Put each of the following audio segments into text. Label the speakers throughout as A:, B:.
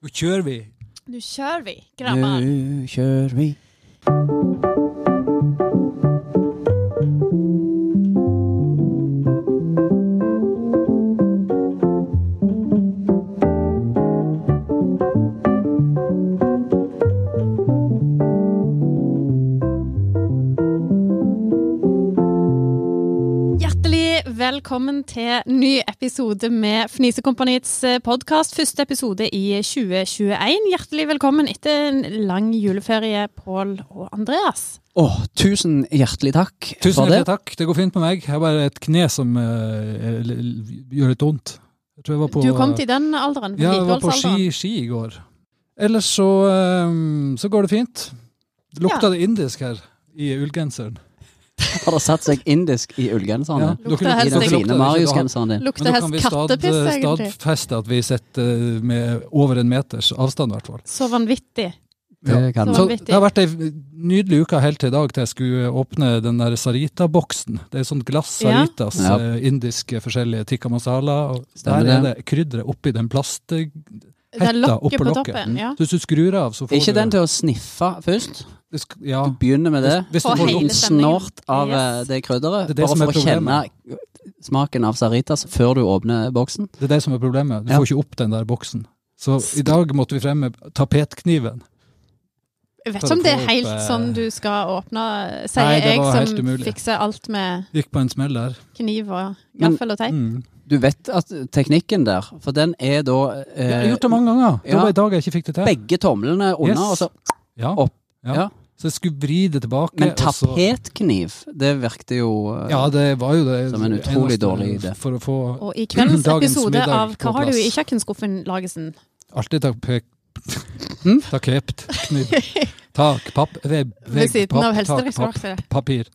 A: Nu kör vi!
B: Nu kör vi, grabbar.
C: Nu kör vi.
B: Hjertelig velkommen til ny episode med Fnisekompaniets podkast. Første episode i 2021. Hjertelig velkommen etter en lang juleferie, Pål og Andreas.
C: Åh, tusen hjertelig takk
A: Tusen
C: for
A: hjertelig
C: det.
A: takk. Det går fint med meg. Jeg har bare et kne som eh, l- l- gjør litt vondt. Jeg tror jeg var på
B: du kom til den alderen?
A: Ja, jeg var på
B: vedlikeholdsalderen.
A: ski, ski i går. Ellers så, eh, så går det fint. Det Lukta
B: Ja.
A: det indisk her i ullgenseren?
C: Har det satt seg indisk i ullgenseren?
A: Dere-
B: Lukta helst
C: I
A: dere lukter
B: ikke.
C: den Sånn, fine
A: det ikke, da.
C: Marius-genseren din?
A: Men da
B: Lukter
A: kan
B: helst
A: vi stad- eh,
B: kattepiss, egentlig.
A: stadfeste at vi sitter med over en meters avstand, i hvert fall.
B: Så vanvittig.
A: Ja.
C: Det kan
B: Så-
C: vi.
A: Så
B: Vanvittig.
A: det har vært ei nydelig uke helt til i dag til jeg skulle åpne den der Sarita-boksen. Det er sånn glass
B: Ja.
A: Saritas,
C: Ja.
A: eh, indiske forskjellige tikka masala. Og
C: Stemmer
A: der er det krydderet oppi den plasthetta
B: Det er lokket
A: oppå
B: på
A: lokket. Mm.
B: toppen. ja.
A: Så hvis du skrur av, så får
C: Ikke
A: du
C: den til å sniffe først.
A: det sk- Ja.
C: Du begynner med det.
A: Hvis du
B: Få
A: får
C: Gi
A: det
C: en
B: hele
A: opp.
B: stemningen.
C: snort av eh,
B: Yes.
C: det krydderet,
A: Det er det som
C: bare
A: er
C: for å kjenne
A: problemet.
C: smaken av Saritas før du åpner boksen.
A: Det er det som er problemet. Du
C: Ja.
A: får ikke opp den der boksen. Så i dag måtte vi frem med tapetkniven.
B: Jeg vet
A: Ta
B: ikke om det
A: det
B: er
A: opp,
B: helt
A: eh.
B: sånn du skal åpne, eh, sier
A: Nei, det
B: jeg
A: var helt
B: som
A: umulig.
B: fikser alt med
A: Gikk på en smell der.
B: kniv og
C: Men-
B: gaffel og teip.
A: Mm.
C: Du vet at teknikken der, for den er da
A: Jeg
C: eh,
A: har gjort det mange ganger. Det
C: ja.
A: var i dag jeg ikke fikk det til.
C: begge tomlene unna,
A: Yes.
C: og så
A: Ja.
C: opp.
A: Ja.
C: Ja.
A: Så jeg skulle vri det tilbake.
C: Men
A: og så-
C: tapetkniv, det virkte jo eh,
A: Ja, det var jo det.
C: Som en
A: eneste
C: utrolig dårlig idé.
A: For å få
B: Og i kveldens
A: Dagens
B: episode
A: middag
B: av
A: på
B: Hva har du i
A: plass.
B: kjøkkenskuffen, Lagesen?
A: alltid tapet
C: Hm?
A: Takept. Tak, papp, veb,
B: Ved
A: vegg,
B: siden av
A: papp, tak, papp,
B: Helsedirektoratet.
A: papir.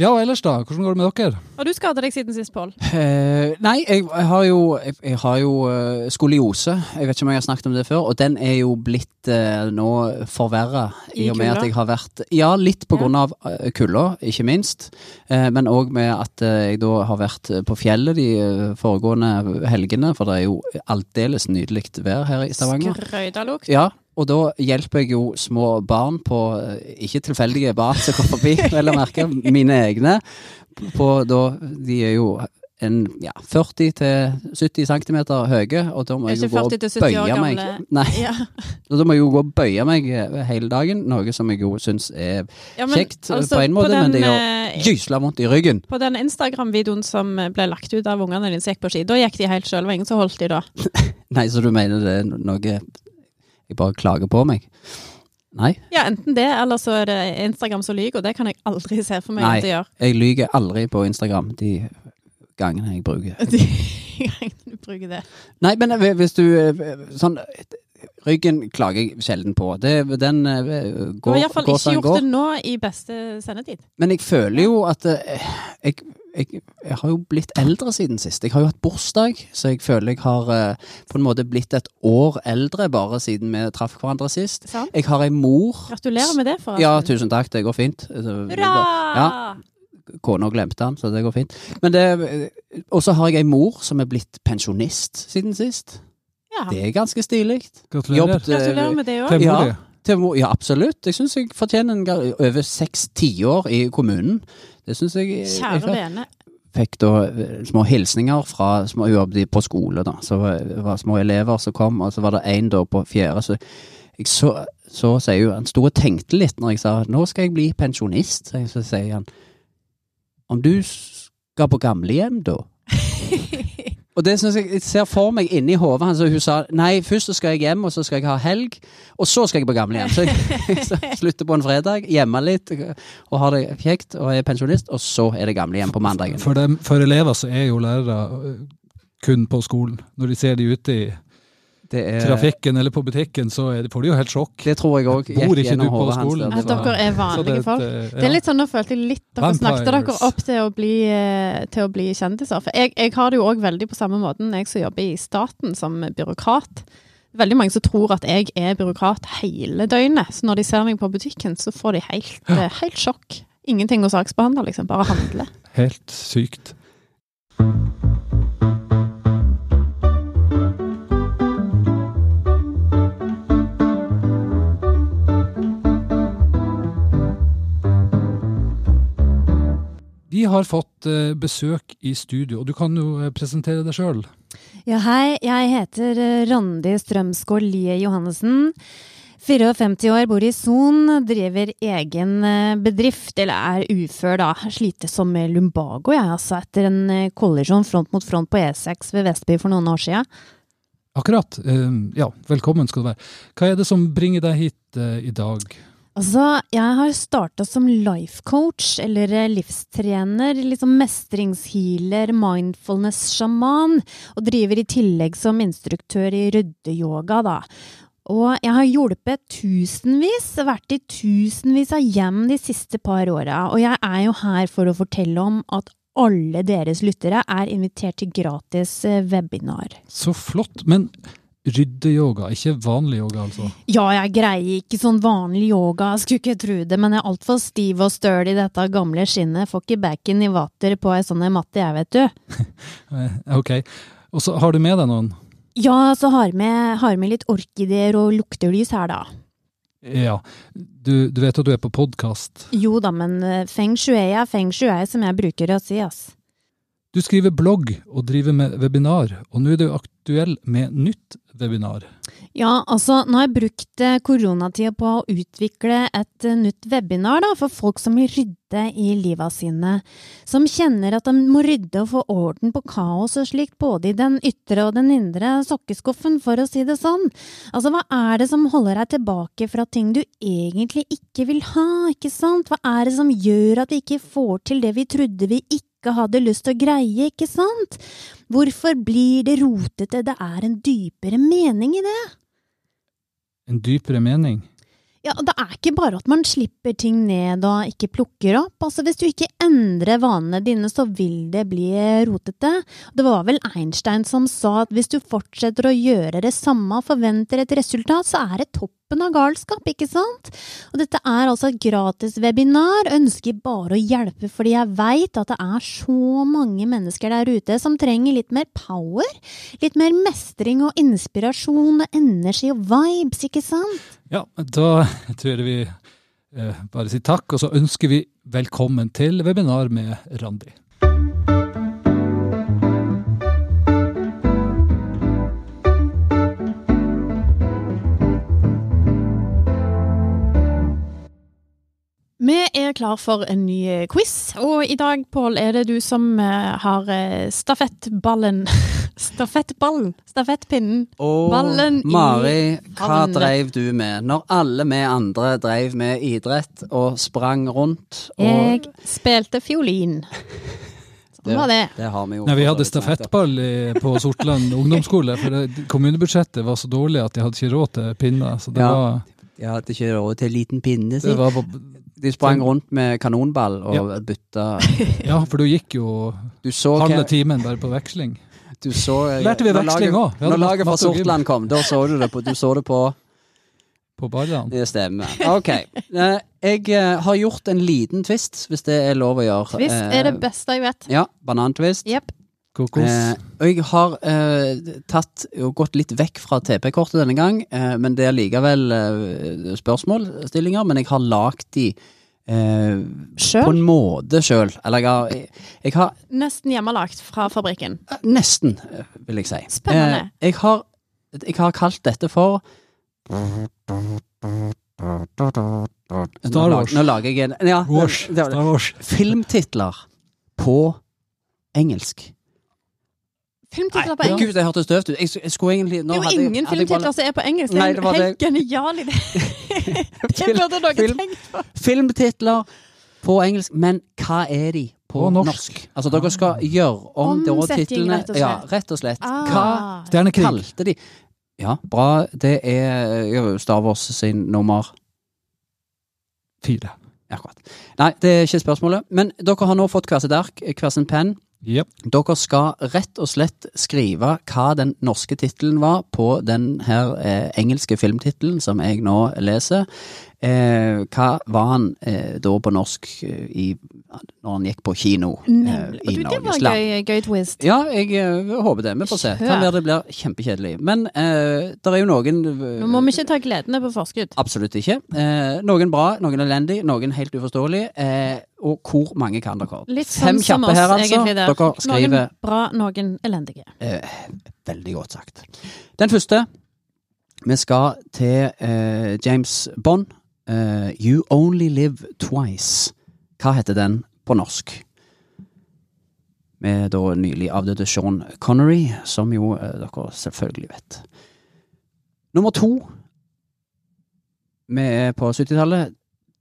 A: Ja, og ellers da? Hvordan går det med dere?
B: Og du skadet deg siden sist, Pål.
C: Eh, nei, jeg, jeg har jo, jeg, jeg har jo eh, skoliose. Jeg vet ikke om jeg har snakket om det før. Og den er jo blitt eh, nå forverra i
B: I
C: og med
B: kulda?
C: at jeg har vært Ja, litt på
B: Ja.
C: grunn av eh, kulda, ikke minst. Eh, men òg med at eh, jeg da har vært eh, på fjellet de eh, foregående helgene, for det er jo aldeles nydelig vær her i Stavanger.
B: Skrøydalukt.
C: Ja, og da hjelper jeg jo små barn på eh, Ikke tilfeldige barn som går forbi, vel å merke. Mine egne. På da De er jo en ja, 40 til 70 cm høye, og da må
B: Er
C: jeg jo
B: ikke
C: gå og
B: 40 til 70 år
C: bøye meg.
B: gamle.
C: Nei,
B: Ja.
C: og da må jeg jo gå og bøye meg eh, hele dagen, noe som jeg jo syns er
B: Ja, altså,
C: Kjekt, eh, på en måte, men det gjør-
B: eh,
C: gysla vondt i ryggen.
B: På den Instagram-videoen som ble lagt ut av ungene dine som gikk på ski, da gikk de helt sjøl. Det var ingen som holdt de da.
C: Nei, så du mener det er no- noe jeg bare klager på meg? Nei,
B: Ja, enten det, eller så er det Instagram som lyver, og det kan jeg aldri se for meg
C: Nei.
B: at det gjør.
C: jeg lyver aldri på Instagram de gangene jeg bruker
B: De bruker det.
C: Nei, men eh, hvis du eh, Sånn eh, Ryggen klager jeg sjelden på. Det, den eh,
B: Du
C: går,
B: har iallfall
C: går
B: ikke
C: som den
B: gjort
C: går.
B: det nå i beste sendetid.
C: Men jeg føler jo at eh, jeg, jeg, jeg har jo blitt eldre siden sist. Jeg har jo hatt bursdag, så jeg føler jeg har eh, på en måte blitt et år eldre bare siden vi traff hverandre sist.
B: Sant?
C: Jeg har ei mor.
B: Gratulerer med det, forresten.
C: Ja, tusen takk. Det går fint.
B: Hurra!
C: Ja, Kona glemte han, så det går fint. Men det eh, Og så har jeg ei mor som er blitt pensjonist siden sist.
B: Ja.
C: Det er ganske stilig.
A: Gratulerer.
C: eh,
B: Gratulerer med det òg.
A: Til
C: ja.
A: mor di.
C: Til, hvor- ja, absolutt. Jeg syns jeg fortjener en gar- over seks tiår i kommunen. Det syns jeg
B: Kjære
C: jeg
B: vene.
C: fikk da eh, små hilsninger fra små hun jobbet i- på skole, da. Så eh, var det små elever som kom, og så var det én da på fjerde. Så jeg så, så sier hun Han sto og tenkte litt når jeg sa nå skal jeg bli pensjonist. Så, jeg- så sier han om du skal på gamlehjem, da? Og det synes jeg, jeg ser for meg inni hodet hans, og hun sa nei, først så skal jeg hjem, og så skal jeg ha helg, og så skal jeg på gamlehjem. Så jeg så jeg slutter på en fredag, hjemme litt, og har det kjekt, og er pensjonist, og så er det gamlehjem på mandagen.
A: For, dem, for elever så er jo lærere eh, kun på skolen. Når de ser de ute i
C: Det, er,
A: trafikken eller på butikken, så er de, får de jo helt sjokk.
C: det tror jeg òg
A: Bor
C: gikk
A: ikke du
C: gjennom
A: på
C: hodet hans.
A: skolen?
B: At
C: der.
A: Altså,
B: dere er
A: Så det er
B: vanlige
A: et,
B: folk.
A: eh,
B: Det er litt sånn, Nå følte jeg litt dere snakket dere
A: Vampires.
B: opp til å bli, eh, til å bli kjendiser. For jeg, jeg har det jo òg veldig på samme måten, jeg som jobber i staten som byråkrat. Veldig mange som tror at jeg er byråkrat hele døgnet. Så når de ser meg på butikken, så får de helt, eh, helt sjokk. Ingenting å saksbehandle, liksom. Bare handle.
A: ja. Helt sykt. Vi har fått eh, besøk i studio, og du kan jo eh, presentere deg sjøl.
B: Ja, hei. Jeg heter eh, Randi Strømsgård Lie Johannessen. 54 år, bor i Son, driver egen eh, bedrift, eller er ufør, da. Sliter som med lumbago, jeg, altså, etter en eh, kollisjon front mot front på E6 ved Vestby for noen år sia.
A: Akkurat. Eh, ja, velkommen skal du være. Hva er det som bringer deg hit eh, i dag?
B: Altså, jeg har starta som life coach, eller eh, livstrener, liksom mestringshealer, mindfulness-sjaman, og driver i tillegg som instruktør i ryddeyoga, da. Og jeg har hjulpet tusenvis, vært i tusenvis av hjem de siste par åra, og jeg er jo her for å fortelle om at alle deres lyttere er invitert til gratis eh, webinar.
A: Så flott. Men ryddeyoga, ikke vanlig yoga, altså?
B: Ja, jeg greier ikke sånn vanlig yoga, jeg skulle ikke tro det, men jeg er altfor stiv og støl i dette gamle skinnet, får ikke bacon i vater på ei sånn matte, jeg, vet du.
A: Eh, ok. Og så har du med deg noen?
B: Ja, så har med, har med litt orkideer og luktelys her, da.
C: Eh,
A: Ja. Du, du vet at du er på podkast?
B: Jo da, men eh, feng shui er feng shui, som jeg bruker å si, ass.
A: Du skriver blogg og driver med webinar, og nå er du aktuell med nytt webinar.
B: Ja, altså, nå har jeg brukt eh, koronatida på å utvikle et eh, nytt webinar da, for folk som vil rydde i liva sine. Som kjenner at de må rydde og få orden på kaos og slikt, både i den ytre og den indre sokkeskuffen, for å si det sånn. Altså, hva er det som holder deg tilbake fra ting du egentlig ikke vil ha, ikke sant? Hva er det som gjør at vi ikke får til det vi trodde vi ikke hadde lyst til å greie, ikke sant? Hvorfor blir det rotete? Det er en dypere mening i det.
A: En dypere mening.
B: Ja, og Det er ikke bare at man slipper ting ned og ikke plukker opp. Altså, Hvis du ikke endrer vanene dine, så vil det bli rotete. Det var vel Einstein som sa at hvis du fortsetter å gjøre det samme og forventer et resultat, så er det toppen av galskap, ikke sant? Og Dette er altså et gratis webinar. Ønsker bare å hjelpe fordi jeg veit at det er så mange mennesker der ute som trenger litt mer power. Litt mer mestring og inspirasjon og energi og vibes, ikke sant?
A: Ja, da tror jeg vi eh, bare sier takk, og så ønsker vi velkommen til webinar med Randi.
D: Vi er klar for en ny eh, quiz, og i dag, Pål, er det du som eh, har eh, stafettballen. Stafettballen. Stafettpinnen.
C: Og
D: Ballen i
C: Mari, hva
D: havnen.
C: dreiv du med når alle vi andre dreiv med idrett og sprang rundt? Og
B: Jeg,
D: Spilte fiolin. Sånn var det.
C: det har vi jo.
A: Nei, Vi
C: for så
A: hadde
C: vidt snakket om.
A: stafettball i, på Sortland ungdomsskole, for det, kommunebudsjettet var så dårlig at de hadde ikke råd til pinner. Så det
C: Ja.
A: var,
C: Jeg hadde ikke råd til en liten pinne.
A: det
C: Si.
A: var
C: De sprang rundt med kanonball og bytta
A: Ja, for du gikk jo
C: Du så
A: halve
C: hva
A: timen bare på veksling.
C: du så,
A: Lærte vi
C: når
A: veksling
C: laget-
A: også? Vi hadde
C: Når laget fra
A: matte og gym.
C: Sortland kom, da så du det på, du så det på
A: På ballene.
C: Det stemmer. Ok. Eh, Jeg eh, har gjort en liten twist, hvis det er lov å gjøre.
D: Twist er det
C: Eh,
D: beste jeg vet.
C: Ja, banantvist.
D: Jepp.
A: Kokos.
C: Eh, og jeg har eh, tatt og gått litt vekk fra TP-kortet denne gang, eh, men det er likevel eh, spørsmålsstillinger. Men jeg har lagd de eh, på
D: Sjøl.
C: en måte sjøl. Eller jeg har, jeg, jeg har
D: Nesten hjemmelagt fra fabrikken.
C: eh, Nesten, eh, vil jeg si.
D: Spennende.
C: Eh, jeg, har, jeg har kalt dette for
A: Star
C: Nå lag-
A: Wars.
C: Nå lager jeg en ja,
A: Wars.
C: det var det.
A: Star Wars.
C: Filmtitler på engelsk.
D: Filmtitler på
C: Nei,
D: engelsk.
C: gud, det hørtes døvt ut. Jeg, jeg skulle egentlig nå
D: Det er
C: hadde
D: jo
C: jeg-
D: ingen
C: hadde jeg bare-
D: filmtitler som er på engelsk. Det
C: Nei,
D: er
C: det
D: en
C: var
D: helt genial idé. Det
C: Film-
D: burde dere
C: film-
D: tenkt på.
C: Filmtitler på engelsk, men hva er de på,
A: På norsk.
C: norsk? Altså, dere skal gjøre om da
D: Omsetting,
C: titlene
D: rett og slett.
C: Ja, rett og slett. Hva
D: Ah.
A: Stjernekrig.
C: kalte de Ja, bra. Det er ja, Star Wars sin nummer
A: Fire.
C: Akkurat. Nei, det er ikke spørsmålet. Men dere har nå fått hver sitt ark, hver sin penn.
A: Jep.
C: Dere skal rett og slett skrive hva den norske tittelen var på den her eh, engelske filmtittelen som jeg nå leser. Eh, hva var han eh, da på norsk eh, i, når han gikk på kino eh,
D: Nemlig.
C: i
D: Du, det var
C: Norges land?
D: gøy, gøy twist.
C: Ja, jeg eh, håper det. Vi får se. Kan være det blir kjempekjedelig. Men eh, det er jo noen eh,
D: Nå må vi ikke ta gledene på forskudd.
C: Absolutt ikke. Eh, noen bra, noen elendig, noen helt uforståelig. Eh, og hvor mange kan dere?
B: Litt
C: Fem
B: sånn som
C: kjappe
B: oss,
C: her, altså.
B: egentlig. Der.
C: Dere skriver
B: Noen bra, noen elendige.
C: Veldig godt sagt. Den første Vi skal til eh, James Bond. Eh, you Only Live Twice. Hva heter den på norsk? Med da nylig avdøde Sean Connery, som jo eh, dere selvfølgelig vet. Nummer to Vi er på 70-tallet.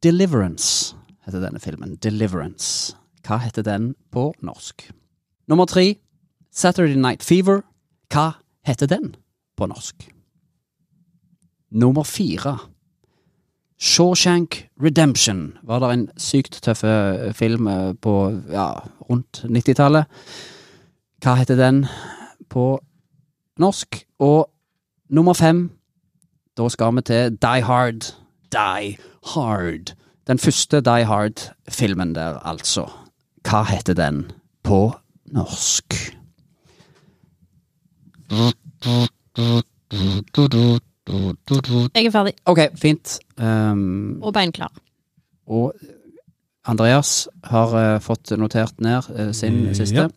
C: Deliverance heter denne filmen. Deliverance. Hva heter den på norsk? Nummer tre Saturday Night Fever. Hva heter den på norsk? Nummer fire. Shawshank Redemption var det en sykt tøff eh, film eh, på ja, rundt 90-tallet. Hva heter den på norsk? Og nummer fem, da skal vi til Die Hard. Die Hard. Den første Die Hard-filmen der, altså. Hva heter den på norsk?
B: Jeg er ferdig.
C: Ok, fint. Ehm,
B: Og beinklar.
C: og Andreas har eh, fått notert ned eh, sin
A: Ja.
C: siste.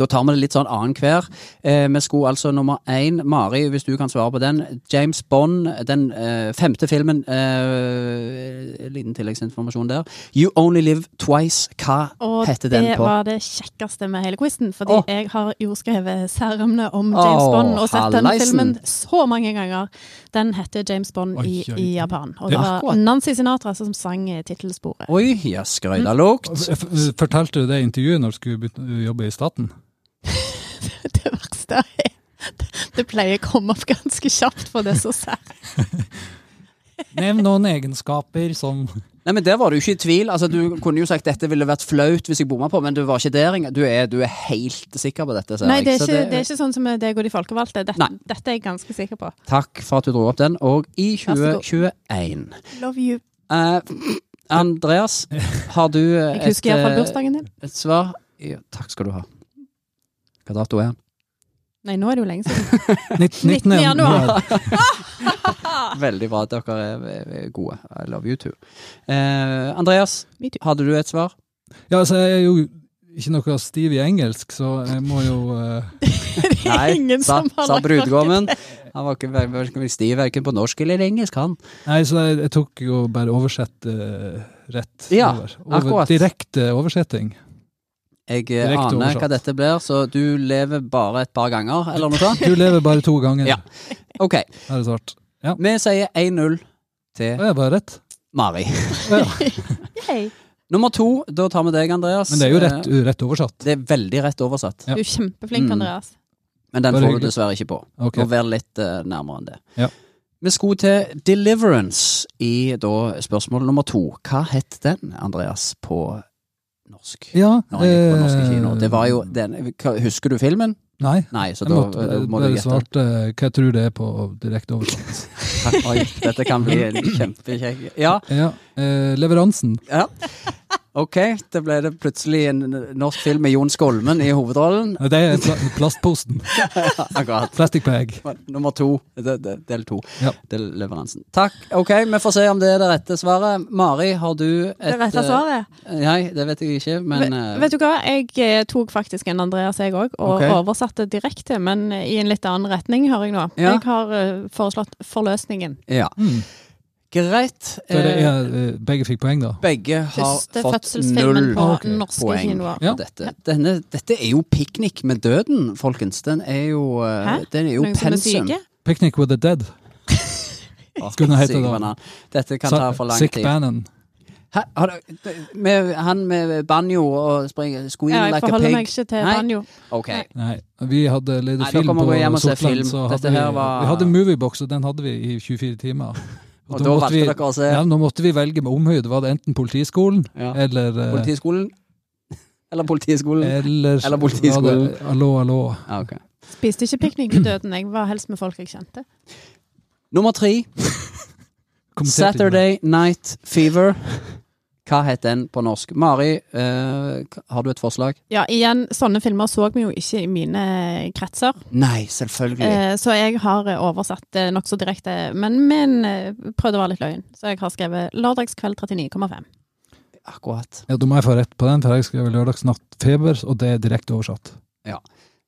C: Da tar vi det litt sånn annenhver. Eh, vi skulle altså nummer én Mari, hvis du kan svare på den. James Bond, den eh, femte filmen. Eh, liten tilleggsinformasjon der. You Only Live Twice. Hva
B: Og det
C: heter den på
B: var det kjekkeste med hele quizen, fordi
C: Åh.
B: jeg har jo skrevet særemne om James
C: Åh,
B: Bond og sett
C: halleisen.
B: den filmen så mange ganger. Den heter James Bond
A: Oi,
B: i,
A: oi.
B: i Japan. Og
A: Det-
B: det var
C: Akkurat.
B: Nancy Sinatra som sang eh, tittelsporet.
C: Oi, ja,
B: Mm.
C: skrøydalukt.
A: Altså, F- f- Fortalte du det i intervjuet når du skulle begynne å jobbe i staten?
B: Det verste er det pleier å komme opp ganske kjapt, for det er så sært.
A: Nevn noen egenskaper som
C: Nei, men Der var du ikke i tvil. Altså, du kunne jo sagt dette ville vært flaut hvis jeg bomma på, men du var ikke der engang. Du er, du er helt sikker på dette. ser
B: Nei,
C: jeg.
B: det er,
C: Så
B: ikke, det er ikke sånn som med deg og de folkevalgte.
C: Nei.
B: Dette, dette er jeg ganske sikker på.
C: Takk for at du dro opp den. Og i
B: Vær så god.
C: 2021
B: Love you.
C: eh, Andreas, har du eh,
B: Jeg husker iallfall
C: eh,
B: bursdagen din.
C: et svar? Ja, takk skal du ha. Hva dato er den?
B: Nei, nå er det jo lenge siden.
A: Nitt-
B: 19. januar. Ah.
C: Veldig bra at dere er, er gode. I love you too. Eh, Andreas,
B: Me too.
C: hadde du et svar?
A: Ja, altså, jeg er jo ikke noe stiv i engelsk, så jeg må jo eh,
B: Det er ingen
C: sa,
B: som har
C: sa
B: lagt merke til
C: brudgommen. Han var ikke ver- verken stiv verken på norsk eller engelsk, han.
A: Nei, så jeg, jeg tok jo bare oversett eh, rett
C: Ja,
A: over. over
C: akkurat.
A: direkte oversetting.
C: Jeg eh,
A: Direkte
C: aner
A: oversatt.
C: hva dette blir, så du lever bare et par ganger, eller noe sånt.
A: Du lever bare to ganger,
C: Ja. Ok,
A: er det svart.
C: vi sier 1-0
A: Og
C: til
A: jeg var rett.
C: Mari.
A: Ja.
B: Hei.
C: Nummer to, da tar vi deg, Andreas.
A: Men det er jo
C: Eh,
A: rett, rett oversatt.
C: Det er veldig rett oversatt,
A: Ja.
B: Du er kjempeflink,
C: Mm.
B: Andreas.
C: men den
A: Bare
C: får du
A: hyggelig.
C: dessverre ikke på.
A: Ok.
C: Må være litt eh, nærmere enn det.
A: Ja.
C: Vi skulle til Deliverance i da spørsmål nummer to. Hva het den, Andreas, på norsk?
A: Ja,
C: Når han gikk på norske
A: eh,
C: kinoer. Det var jo den hva- Husker du filmen?
A: Nei.
C: Nei, så
A: Jeg
C: da
A: måtte
C: eh, må du
A: bare
C: gjette.
A: svarte eh, hva jeg tror det er på direkte oversatt.
C: Oi, dette kan bli en kjempekjekk Ja,
A: Ja, eh, leveransen.
C: ja. Ok, da ble det plutselig en norsk film med Jon Skolmen i hovedrollen.
A: Nei, Eh, Det er pla- plastposen.
C: Akkurat.
A: Plastic bag.
C: Nummer to. De- de- Del to.
A: Ja.
C: Del leveransen. Takk. Ok, vi får se om det er det rette svaret. Mari, har du et
B: Det rette
C: eh,
B: svaret.
C: Nei, det vet jeg ikke, men
B: Ve-
C: eh,
B: Vet du hva, jeg eh, tok faktisk en Andreas, jeg òg, og
C: Ok.
B: oversatte direkte, men i en litt annen retning, hører jeg nå.
C: Ja.
B: Jeg har eh, foreslått forløsningen.
C: Ja.
A: Mm.
C: Greit.
A: Så det
C: Eh,
A: er, eh, begge fikk poeng, da.
C: Begge har
B: Første
C: fått null
B: fødselsfilmen på
A: Ok.
B: norske
C: poeng
B: kinoer.
A: Ja.
C: på dette. Denne, dette er jo piknik med døden, folkens. Den er jo, eh,
B: Hæ?
C: den er jo
B: Noen som er
C: pensum.
B: syke?
A: Picnic with the dead.
C: Å,
A: Skulle den hete
C: syke
A: da?
C: banan. Dette kan
A: Sa-
C: ta for lang
A: Sick
C: tid.
A: Bannon.
C: Hæ? Har du- det- med, han med banjo og springer Squeal
B: Ja, jeg
C: like a
B: forholder meg
C: pig.
B: ikke til
C: Nei.
B: banjo.
C: Ok.
B: Nei.
A: Nei, vi hadde ledet
C: Nei, dere
A: film
C: må
A: på
C: gå hjem og se
A: Sortland,
C: film.
A: så
C: Dette
A: hadde vi,
C: her var-
A: vi hadde moviebox, og den hadde vi i 24 timer.
C: Og
A: da
C: da
A: måtte
C: valgte
A: vi-
C: dere å se
A: Ja, nå måtte vi velge med omhøyde. Var det enten Politiskolen
C: Ja.
A: eller eh,
C: Politiskolen? Eller Politiskolen?
A: Eller,
C: Eller Politiskolen.
A: var det Allo, allo.
C: Ja, ok.
B: Spiste ikke piknik med døden, jeg var helst med folk jeg kjente.
C: Nummer tre,
A: Kommenterte ikke det.
C: Saturday Night Fever. Hva het den på norsk? Mari, eh, har du et forslag?
B: Ja, igjen, sånne filmer så vi jo ikke i mine kretser,
C: Nei, selvfølgelig.
B: eh, så jeg har eh, oversatt det nokså direkte, men, men eh, prøvde å være litt løgn. Så jeg har skrevet 'Lørdagskveld 39,5'.
C: akkurat.
A: Ja, Da må jeg få rett på den, for jeg skrev lørdagsnattfeber, og det er direkte oversatt.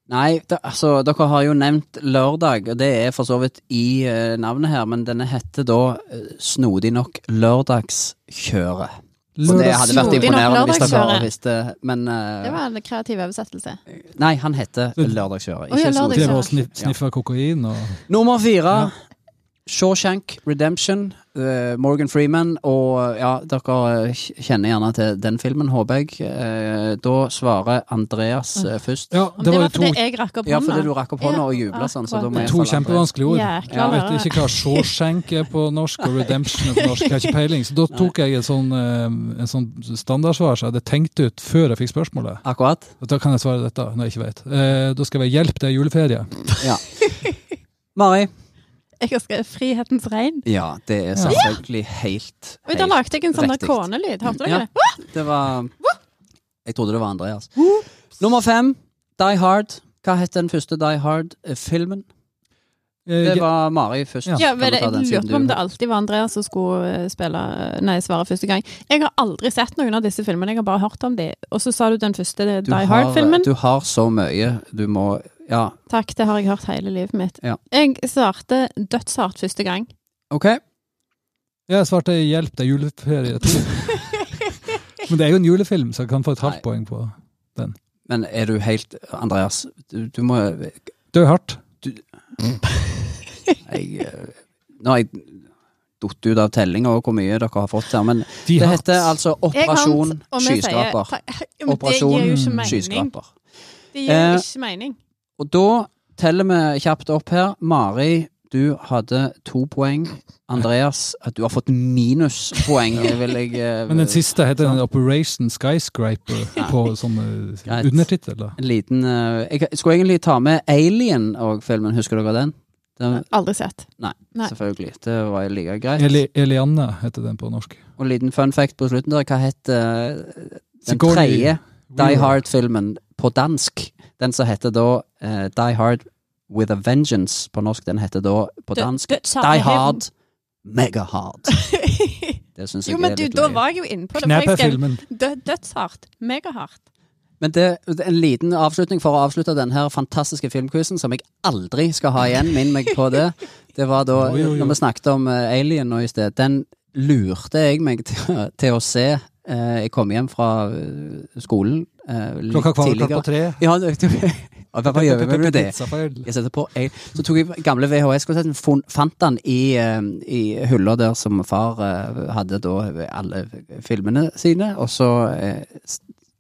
C: Nei, da, altså, dere har jo nevnt lørdag, og det er for så vidt i eh, navnet her, men denne heter da eh, snodig nok Lørdagskjøret. Så det hadde vært
B: Snodig nok
C: imponerende hvis dere
B: Lørdagskjøret.
C: har visst det, men eh,
B: Det var en kreativ oversettelse.
C: Nei, han heter
A: Vel-
C: Lørdagskjøret.
B: Å, ja,
C: Ikke snodig.
B: Lørdags-
A: Drev og sniff, sniffa kokain og
C: Nummer fire.
A: Ja.
C: Shawshank Redemption, eh, Morgan Freeman, og ja, dere eh, kjenner gjerne til den filmen, håper jeg. Eh, da svarer Andreas eh, først.
A: Ja,
B: Men
A: det var jo
B: fordi
A: to,
B: jeg rakk opp
C: Ja, fordi du
B: hånda.
C: rakk opp hånda og
B: Ja,
C: jubla sånn, så da må jeg
A: to
C: falle Andreas.
A: kjempevanskelige ord.
B: Jækla
A: Jeg vet
B: lærere.
A: ikke hva Shawshank er på norsk, og Redemption er på norsk. Jeg har ikke peiling. Så da tok jeg et sånn, eh, en sånn standardsvar som jeg hadde tenkt ut før jeg fikk spørsmålet.
C: Akkurat.
A: Og Da kan jeg svare dette, når jeg ikke vet. Eh, da skal jeg være 'hjelp, det er juleferie'. Eh,
C: Ja. Mari.
B: Jeg har skrevet 'Frihetens regn'.
C: Ja, det er selvfølgelig helt,
B: Oi, da lagde jeg en sånn der
C: riktig.
B: kånelyd. Hørte dere
C: Ja.
B: det?
C: Det var Jeg trodde det var Andreas. Nummer fem, Die Hard. Hva het den første Die Hard-filmen?
A: Eh,
C: Det var Mari først.
A: Ja.
B: Ja,
C: Kan
B: men
C: du ta
B: jeg
C: den siden
B: lurte på om
C: du-
B: det alltid var Andreas som skulle eh, spille, nei, svare første gang. Jeg har aldri sett noen av disse filmene, jeg har bare hørt om de. Og så sa du den første det er
C: Du
B: Die
C: har-
B: Hard-filmen.
C: Du har så mye du må Ja,
B: Takk, det har jeg hørt hele livet mitt.
C: Ja.
B: Jeg svarte dødshardt første gang.
C: OK.
A: Jeg svarte 'hjelp, det er juleferie'. to. Men det er jo en julefilm, så jeg kan få et halvt
C: Nei.
A: poeng på.
C: Men er du helt Andreas, du, du må jeg,
A: Dø hardt.
C: eh, Nå har jeg datt ut av tellinga og hvor mye dere har fått her, men
A: De
C: det
A: hardt.
C: heter altså
B: Jeg
C: Operasjon
B: vant, og vi sier-
C: Skyskraper.
B: Ta- Ja, men Det gir jo
C: Operasjon
B: ikke mening.
C: Skyskraper.
B: Det gir jo
C: Eh,
B: ikke mening.
C: Og da teller vi kjapt opp her. Mari, du hadde to poeng. Andreas, at du har fått minuspoeng, vil jeg eh,
A: Men den siste heter den Operation Skyscraper på sånn eh,
C: Greit.
A: undertittel. da.
C: En liten eh, Jeg skulle egentlig ta med Alien og filmen, husker dere den? den
B: Aldri sett.
C: nei,
B: Nei.
C: selvfølgelig. Det var like greit.
A: Eli, Elianne heter den på norsk.
C: Og en liten fun fact på slutten der. Hva het eh, den
A: Sigourney
C: tredje Die
A: Weaver.
C: Hard-filmen på dansk? Den som heter da eh, Die Hard With A Vengeance på norsk. Den heter da på
B: Død-
C: dansk
B: dødsharde
C: Die
B: hevn.
C: Hard Mega Hard. Det syns jeg
B: Jo, men
C: er
B: du,
C: litt
B: da
C: løye.
B: var jeg jo inne på det.
A: Knep
B: For
A: er
B: jeg skrev
A: filmen.
B: død, dødshardt. Megahardt.
C: Men det, det er en liten avslutning for å avslutte den her fantastiske filmquizen, som jeg aldri skal ha igjen. Minn meg på det. Det var da
A: Jo, jo, jo.
C: når vi snakket om eh, Alien nå i sted. Den lurte jeg meg til, til å se. Eh, Jeg kom hjem fra eh, skolen eh, litt
A: Klokka kvart
C: tidligere.
A: på tre.
C: Ja, det- det- Ja, hva gjør vi med det?
A: Pizzafeil.
C: Jeg setter på jeg, Så tok jeg gamle VHS-kassetten, fant- fant den i, eh, i hylla der som far eh, hadde da alle filmene sine, og så eh, s-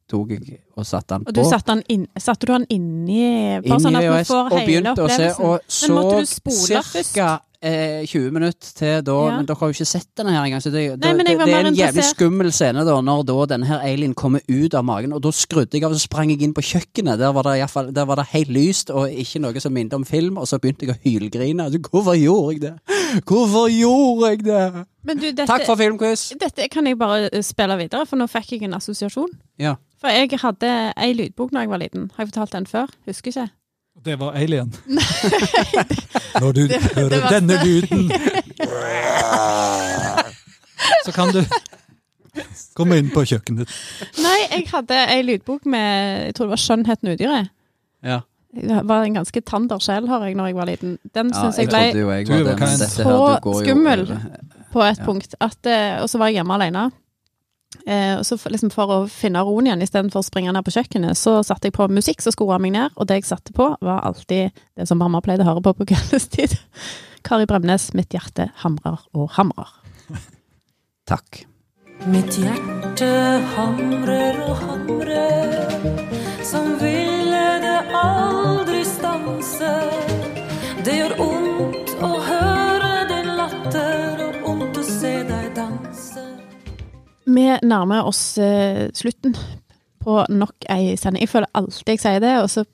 C: tok jeg og satte den
B: Og du
C: på.
B: satte, den inn, satte du den inni
C: inn
B: bare sånn
C: i
B: at vi
C: VHS
B: får
C: og
B: hele
C: begynte å se,
B: opplevelsen?
C: og
B: Men måtte du
C: så
B: spole først?
C: ca. Eh, 20 minutter til da,
B: Ja.
C: men dere har jo ikke sett denne her engang. Så det,
B: Nei,
C: det,
B: men jeg var
C: det
B: mer
C: er en jævlig
B: interessert-
C: skummel scene da, når da denne her alien kommer ut av magen, og da skrudde jeg av og så sprang jeg inn på kjøkkenet. Der var det, i hvert fall- der var det helt lyst og ikke noe som minnet om film, og så begynte jeg å hylgrine. Altså, Hvorfor gjorde jeg det? Hvorfor gjorde jeg det?
B: Men du, dette,
C: Takk for filmquiz!
B: dette kan jeg bare eh, spille videre, for nå fikk jeg en assosiasjon.
C: Ja.
B: For jeg hadde ei lydbok da jeg var liten. Har jeg fortalt den før? Husker ikke.
A: Det var Alien. Når du hører
B: var
A: denne lyden, så kan du komme inn på kjøkkenet.
B: Nei, jeg hadde ei lydbok med Jeg tror det var 'Skjønnheten udyret'.
C: Ja.
B: Det var en ganske tander sjel, har jeg, når jeg var liten. Den
C: Ja,
B: syns
C: jeg
B: jeg ble
C: trodde jo jeg
A: Du
C: var
A: var
C: det, men
A: kind.
C: dette
B: Så
C: her, det går jo
B: skummel.
C: over.
B: på et
C: Ja.
B: punkt. At, eh, og så var jeg hjemme alene. Eh, og så for, liksom for å finne roen igjen, istedenfor å springe ned på kjøkkenet, så satte jeg på musikk som skulle roe meg ned, og det jeg satte på, var alltid det som mamma pleide å høre på på kveldstid. Kari Bremnes, 'Mitt hjerte hamrer og hamrer'.
C: Takk.
E: Mitt hjerte hamrer og hamrer, som ville det aldri stanse. Det gjør ondt å høre din latter, og ondt å se deg danse.
B: Vi nærmer oss eh, slutten på nok ei sending. Jeg føler alltid jeg sier det, og så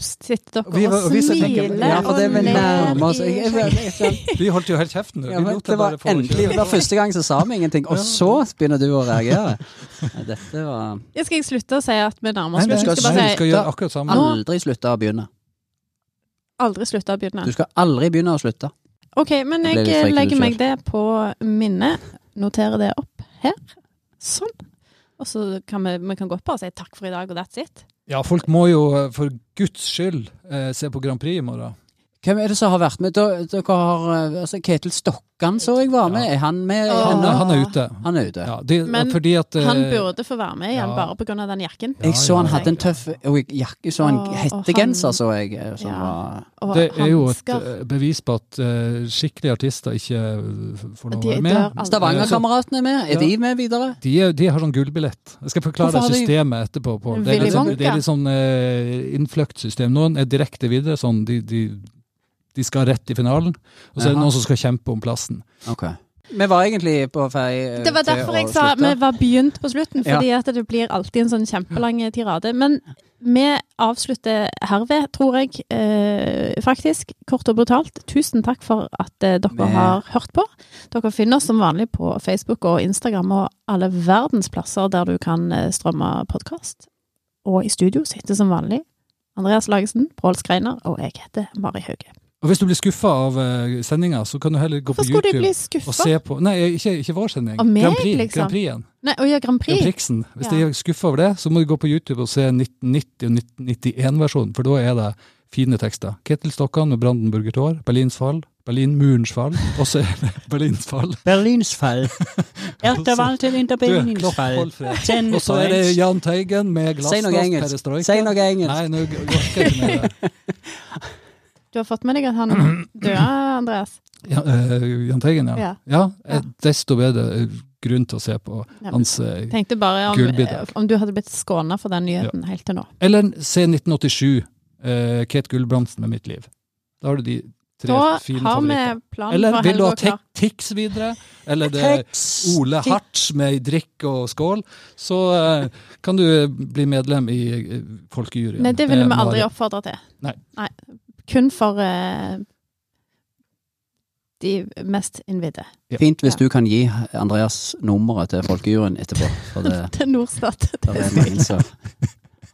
B: sitter dere
A: Vi var-
B: og
A: vi sitter-
B: smiler.
C: Ja, for det er
B: og
C: vel
B: ler
C: nærme oss. Jeg-
B: i-
C: jeg- jeg- jeg-
A: Vi holdt jo helt kjeften. Vi
C: Ja, men
A: lot
C: det
A: det
C: var
A: bare få
C: endelig, det var første gang så sa vi ingenting, og så begynner du å reagere. Nei, Dette var
B: Jeg skal ikke slutte å si at vi nærmer
A: Nei,
B: oss
A: du
B: slutten.
A: skal,
B: Jeg skal
A: nei,
B: bare
A: du
B: si
A: skal gjøre akkurat samme.
B: Nå-
C: Aldri slutte å begynne.
B: aldri slutte å begynne.
C: Du skal aldri begynne å slutte.
B: Ok, men
C: Jeg ble
B: jeg
C: litt frekk
B: legger
C: nå
B: meg det på minnet. Noterer det opp her. Sånn. Og så kan vi, vi kan godt bare si takk for i dag, og that's it.
A: Ja, folk må jo eh, for guds skyld eh, se på Grand Prix i morgen.
C: Hvem er det som har vært med? Da- Dere har eh, altså Ketil Stokkan så jeg var med. Er han med
B: Åh.
A: Han,
C: ennå?
A: han er ute.
C: Han er ute.
A: Ja, de,
B: Men
A: fordi at eh,
B: Han burde få være med igjen,
A: ja.
B: bare pga. den jakken.
A: Ja,
C: Jeg så han
A: ja.
C: hadde en tøff og jeg- jakke, så han
B: Åh, og
C: hettegenser
B: han-
C: så jeg. eh, Som
B: Ja.
C: var,
B: Og
A: Det er jo et
B: hansker.
A: eh, bevis på at eh, skikkelige artister ikke eh, får lov å
B: De
A: være
B: dør
A: med.
B: aldri.
C: Stavangerkameratene er med. Er
A: Ja.
C: de med videre?
A: De, er, de har sånn gullbillett. Jeg skal forklare
C: Hvorfor har
A: deg
C: de-
A: systemet etterpå. Pål. Det er
B: Willy
A: litt sånn,
B: Wonka.
A: det er litt sånn eh, innfløkt system. Noen er direkte videre, sånn de, de, de skal rett i finalen. Og så er det
C: Jaha.
A: noen som skal kjempe om plassen.
C: Ok. Vi var egentlig på vei eh,
B: Det var
C: til
B: derfor
C: å
B: jeg sa vi
C: slutte.
B: var begynt på slutten, fordi at det blir alltid en sånn kjempelang tirade. Men vi avslutter herved, tror jeg, eh, faktisk, kort og brutalt. Tusen takk for at eh, dere
C: Vi-
B: har hørt på. Dere finner oss som vanlig på Facebook og Instagram og alle verdens plasser der du kan eh, strømme podkast. Og i studio sitter som vanlig Andreas Lagesen, Pål Skreiner og jeg heter Mari Hauge.
A: Og hvis du blir skuffa av uh, sendinga, så kan du heller gå på
B: Hvorfor skulle
A: YouTube
B: du bli
A: og
B: skuffa?
A: se på Nei, ikke, ikke vår sending.
B: Av meg,
A: Grand Prix.
B: liksom?
A: Grand Prix-en.
B: Nei, å ja, Grand
A: Grand
B: Prix.
A: Prixen. Hvis
B: Ja.
A: de er skuffa over det, så må du gå på YouTube og se 1990- og 1991-versjonen, for da er det fine tekster. Ketil Stokkan med Brandenburger tår, Berlins fall, Berlinmurens fall, og så er det Berlins fall.
F: Berlins fall. Erterwall til Inter
A: Du,
F: Berlins
A: Klopp,
F: fall.
A: Holfred.
F: Ten
A: Og så er det
F: points.
A: Jahn Teigen med
C: Si noe engelsk.
A: glassnost
C: Si noe engelsk.
A: Nei, nå g- orker jeg ikke mer. det.
B: Du har fått med deg at han døde, Andreas?
A: Ja, eh, Jahn Teigen, ja.
B: Ja.
A: Ja, eh,
B: Ja.
A: desto bedre eh, grunn til å se på hans eh,
B: Tenkte bare om, eh,
A: Gullbidrag.
B: om du hadde blitt skåna for den nyheten helt til nå.
A: Eller se 1987, eh, Kate Gulbrandsen med Mitt liv. Da har du de tre
B: Da
A: fine
B: har vi
A: favoritter.
B: planen
A: Eller
B: for
A: vil du
B: helga
A: ha
B: klar.
A: Tik- Tix videre? Eller det er Ole Hartz med drikk og skål? Så eh, kan du eh, bli medlem i eh, folkejuryen.
B: Nei, det ville vi aldri
A: Mari.
B: oppfordre til.
A: Nei.
B: Kun for eh, de mest innvidde.
C: Fint hvis
B: Ja.
C: du kan gi Andreas nummeret til folkejuryen etterpå. For det,
B: Til Norstat.
C: der er mange som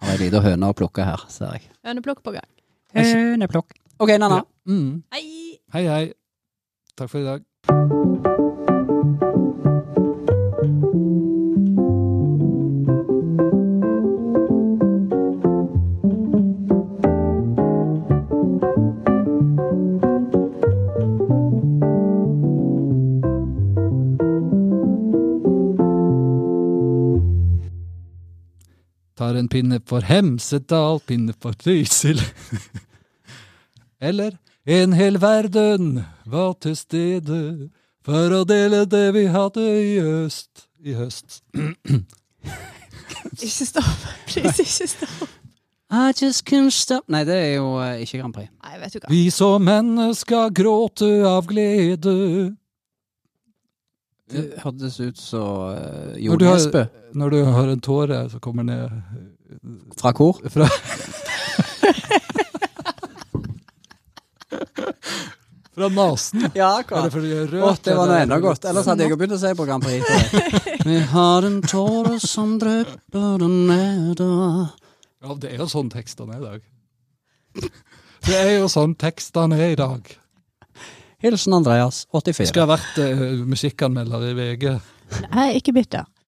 C: har ei lita høne å plukke her, ser jeg.
B: Høneplukk på gang.
F: Høneplukk.
C: OK, Nanna.
A: Mm.
B: Hei!
A: Hei, hei. Takk for i dag. Tar en pinne for Hemsedal, pinne for Trysil. Eller en hel verden var til stede for å dele det vi hadde i øst. I høst.
B: Ikke stopp. Please, ikke stopp.
C: I just can't stop Nei, det er jo eh, ikke Grand Prix.
B: Nei, vet du hva.
A: Vi som mennesker gråte av glede.
C: Det hørtes ut som uh,
A: Når
C: Jon
A: du,
C: Nesbø
A: har, når du har en tåre som kommer ned
C: fra kor.
A: fra Fra nesen.
C: Ja,
A: Er det fordi du er rød?
C: Å, det var noe
A: eller-
C: enda godt. Ellers hadde jeg jo begynt å si på Grand Prix. tror jeg. Vi har en tåre som drypper ned
A: Ja, det er jo sånn tekstene er i dag. Det er jo sånn tekstene er i dag.
C: Hilsen Andreas,
A: Jeg
C: 84.
A: Skulle ha vært eh, musikkanmelder i VG.
B: Nei, ikke bytt det.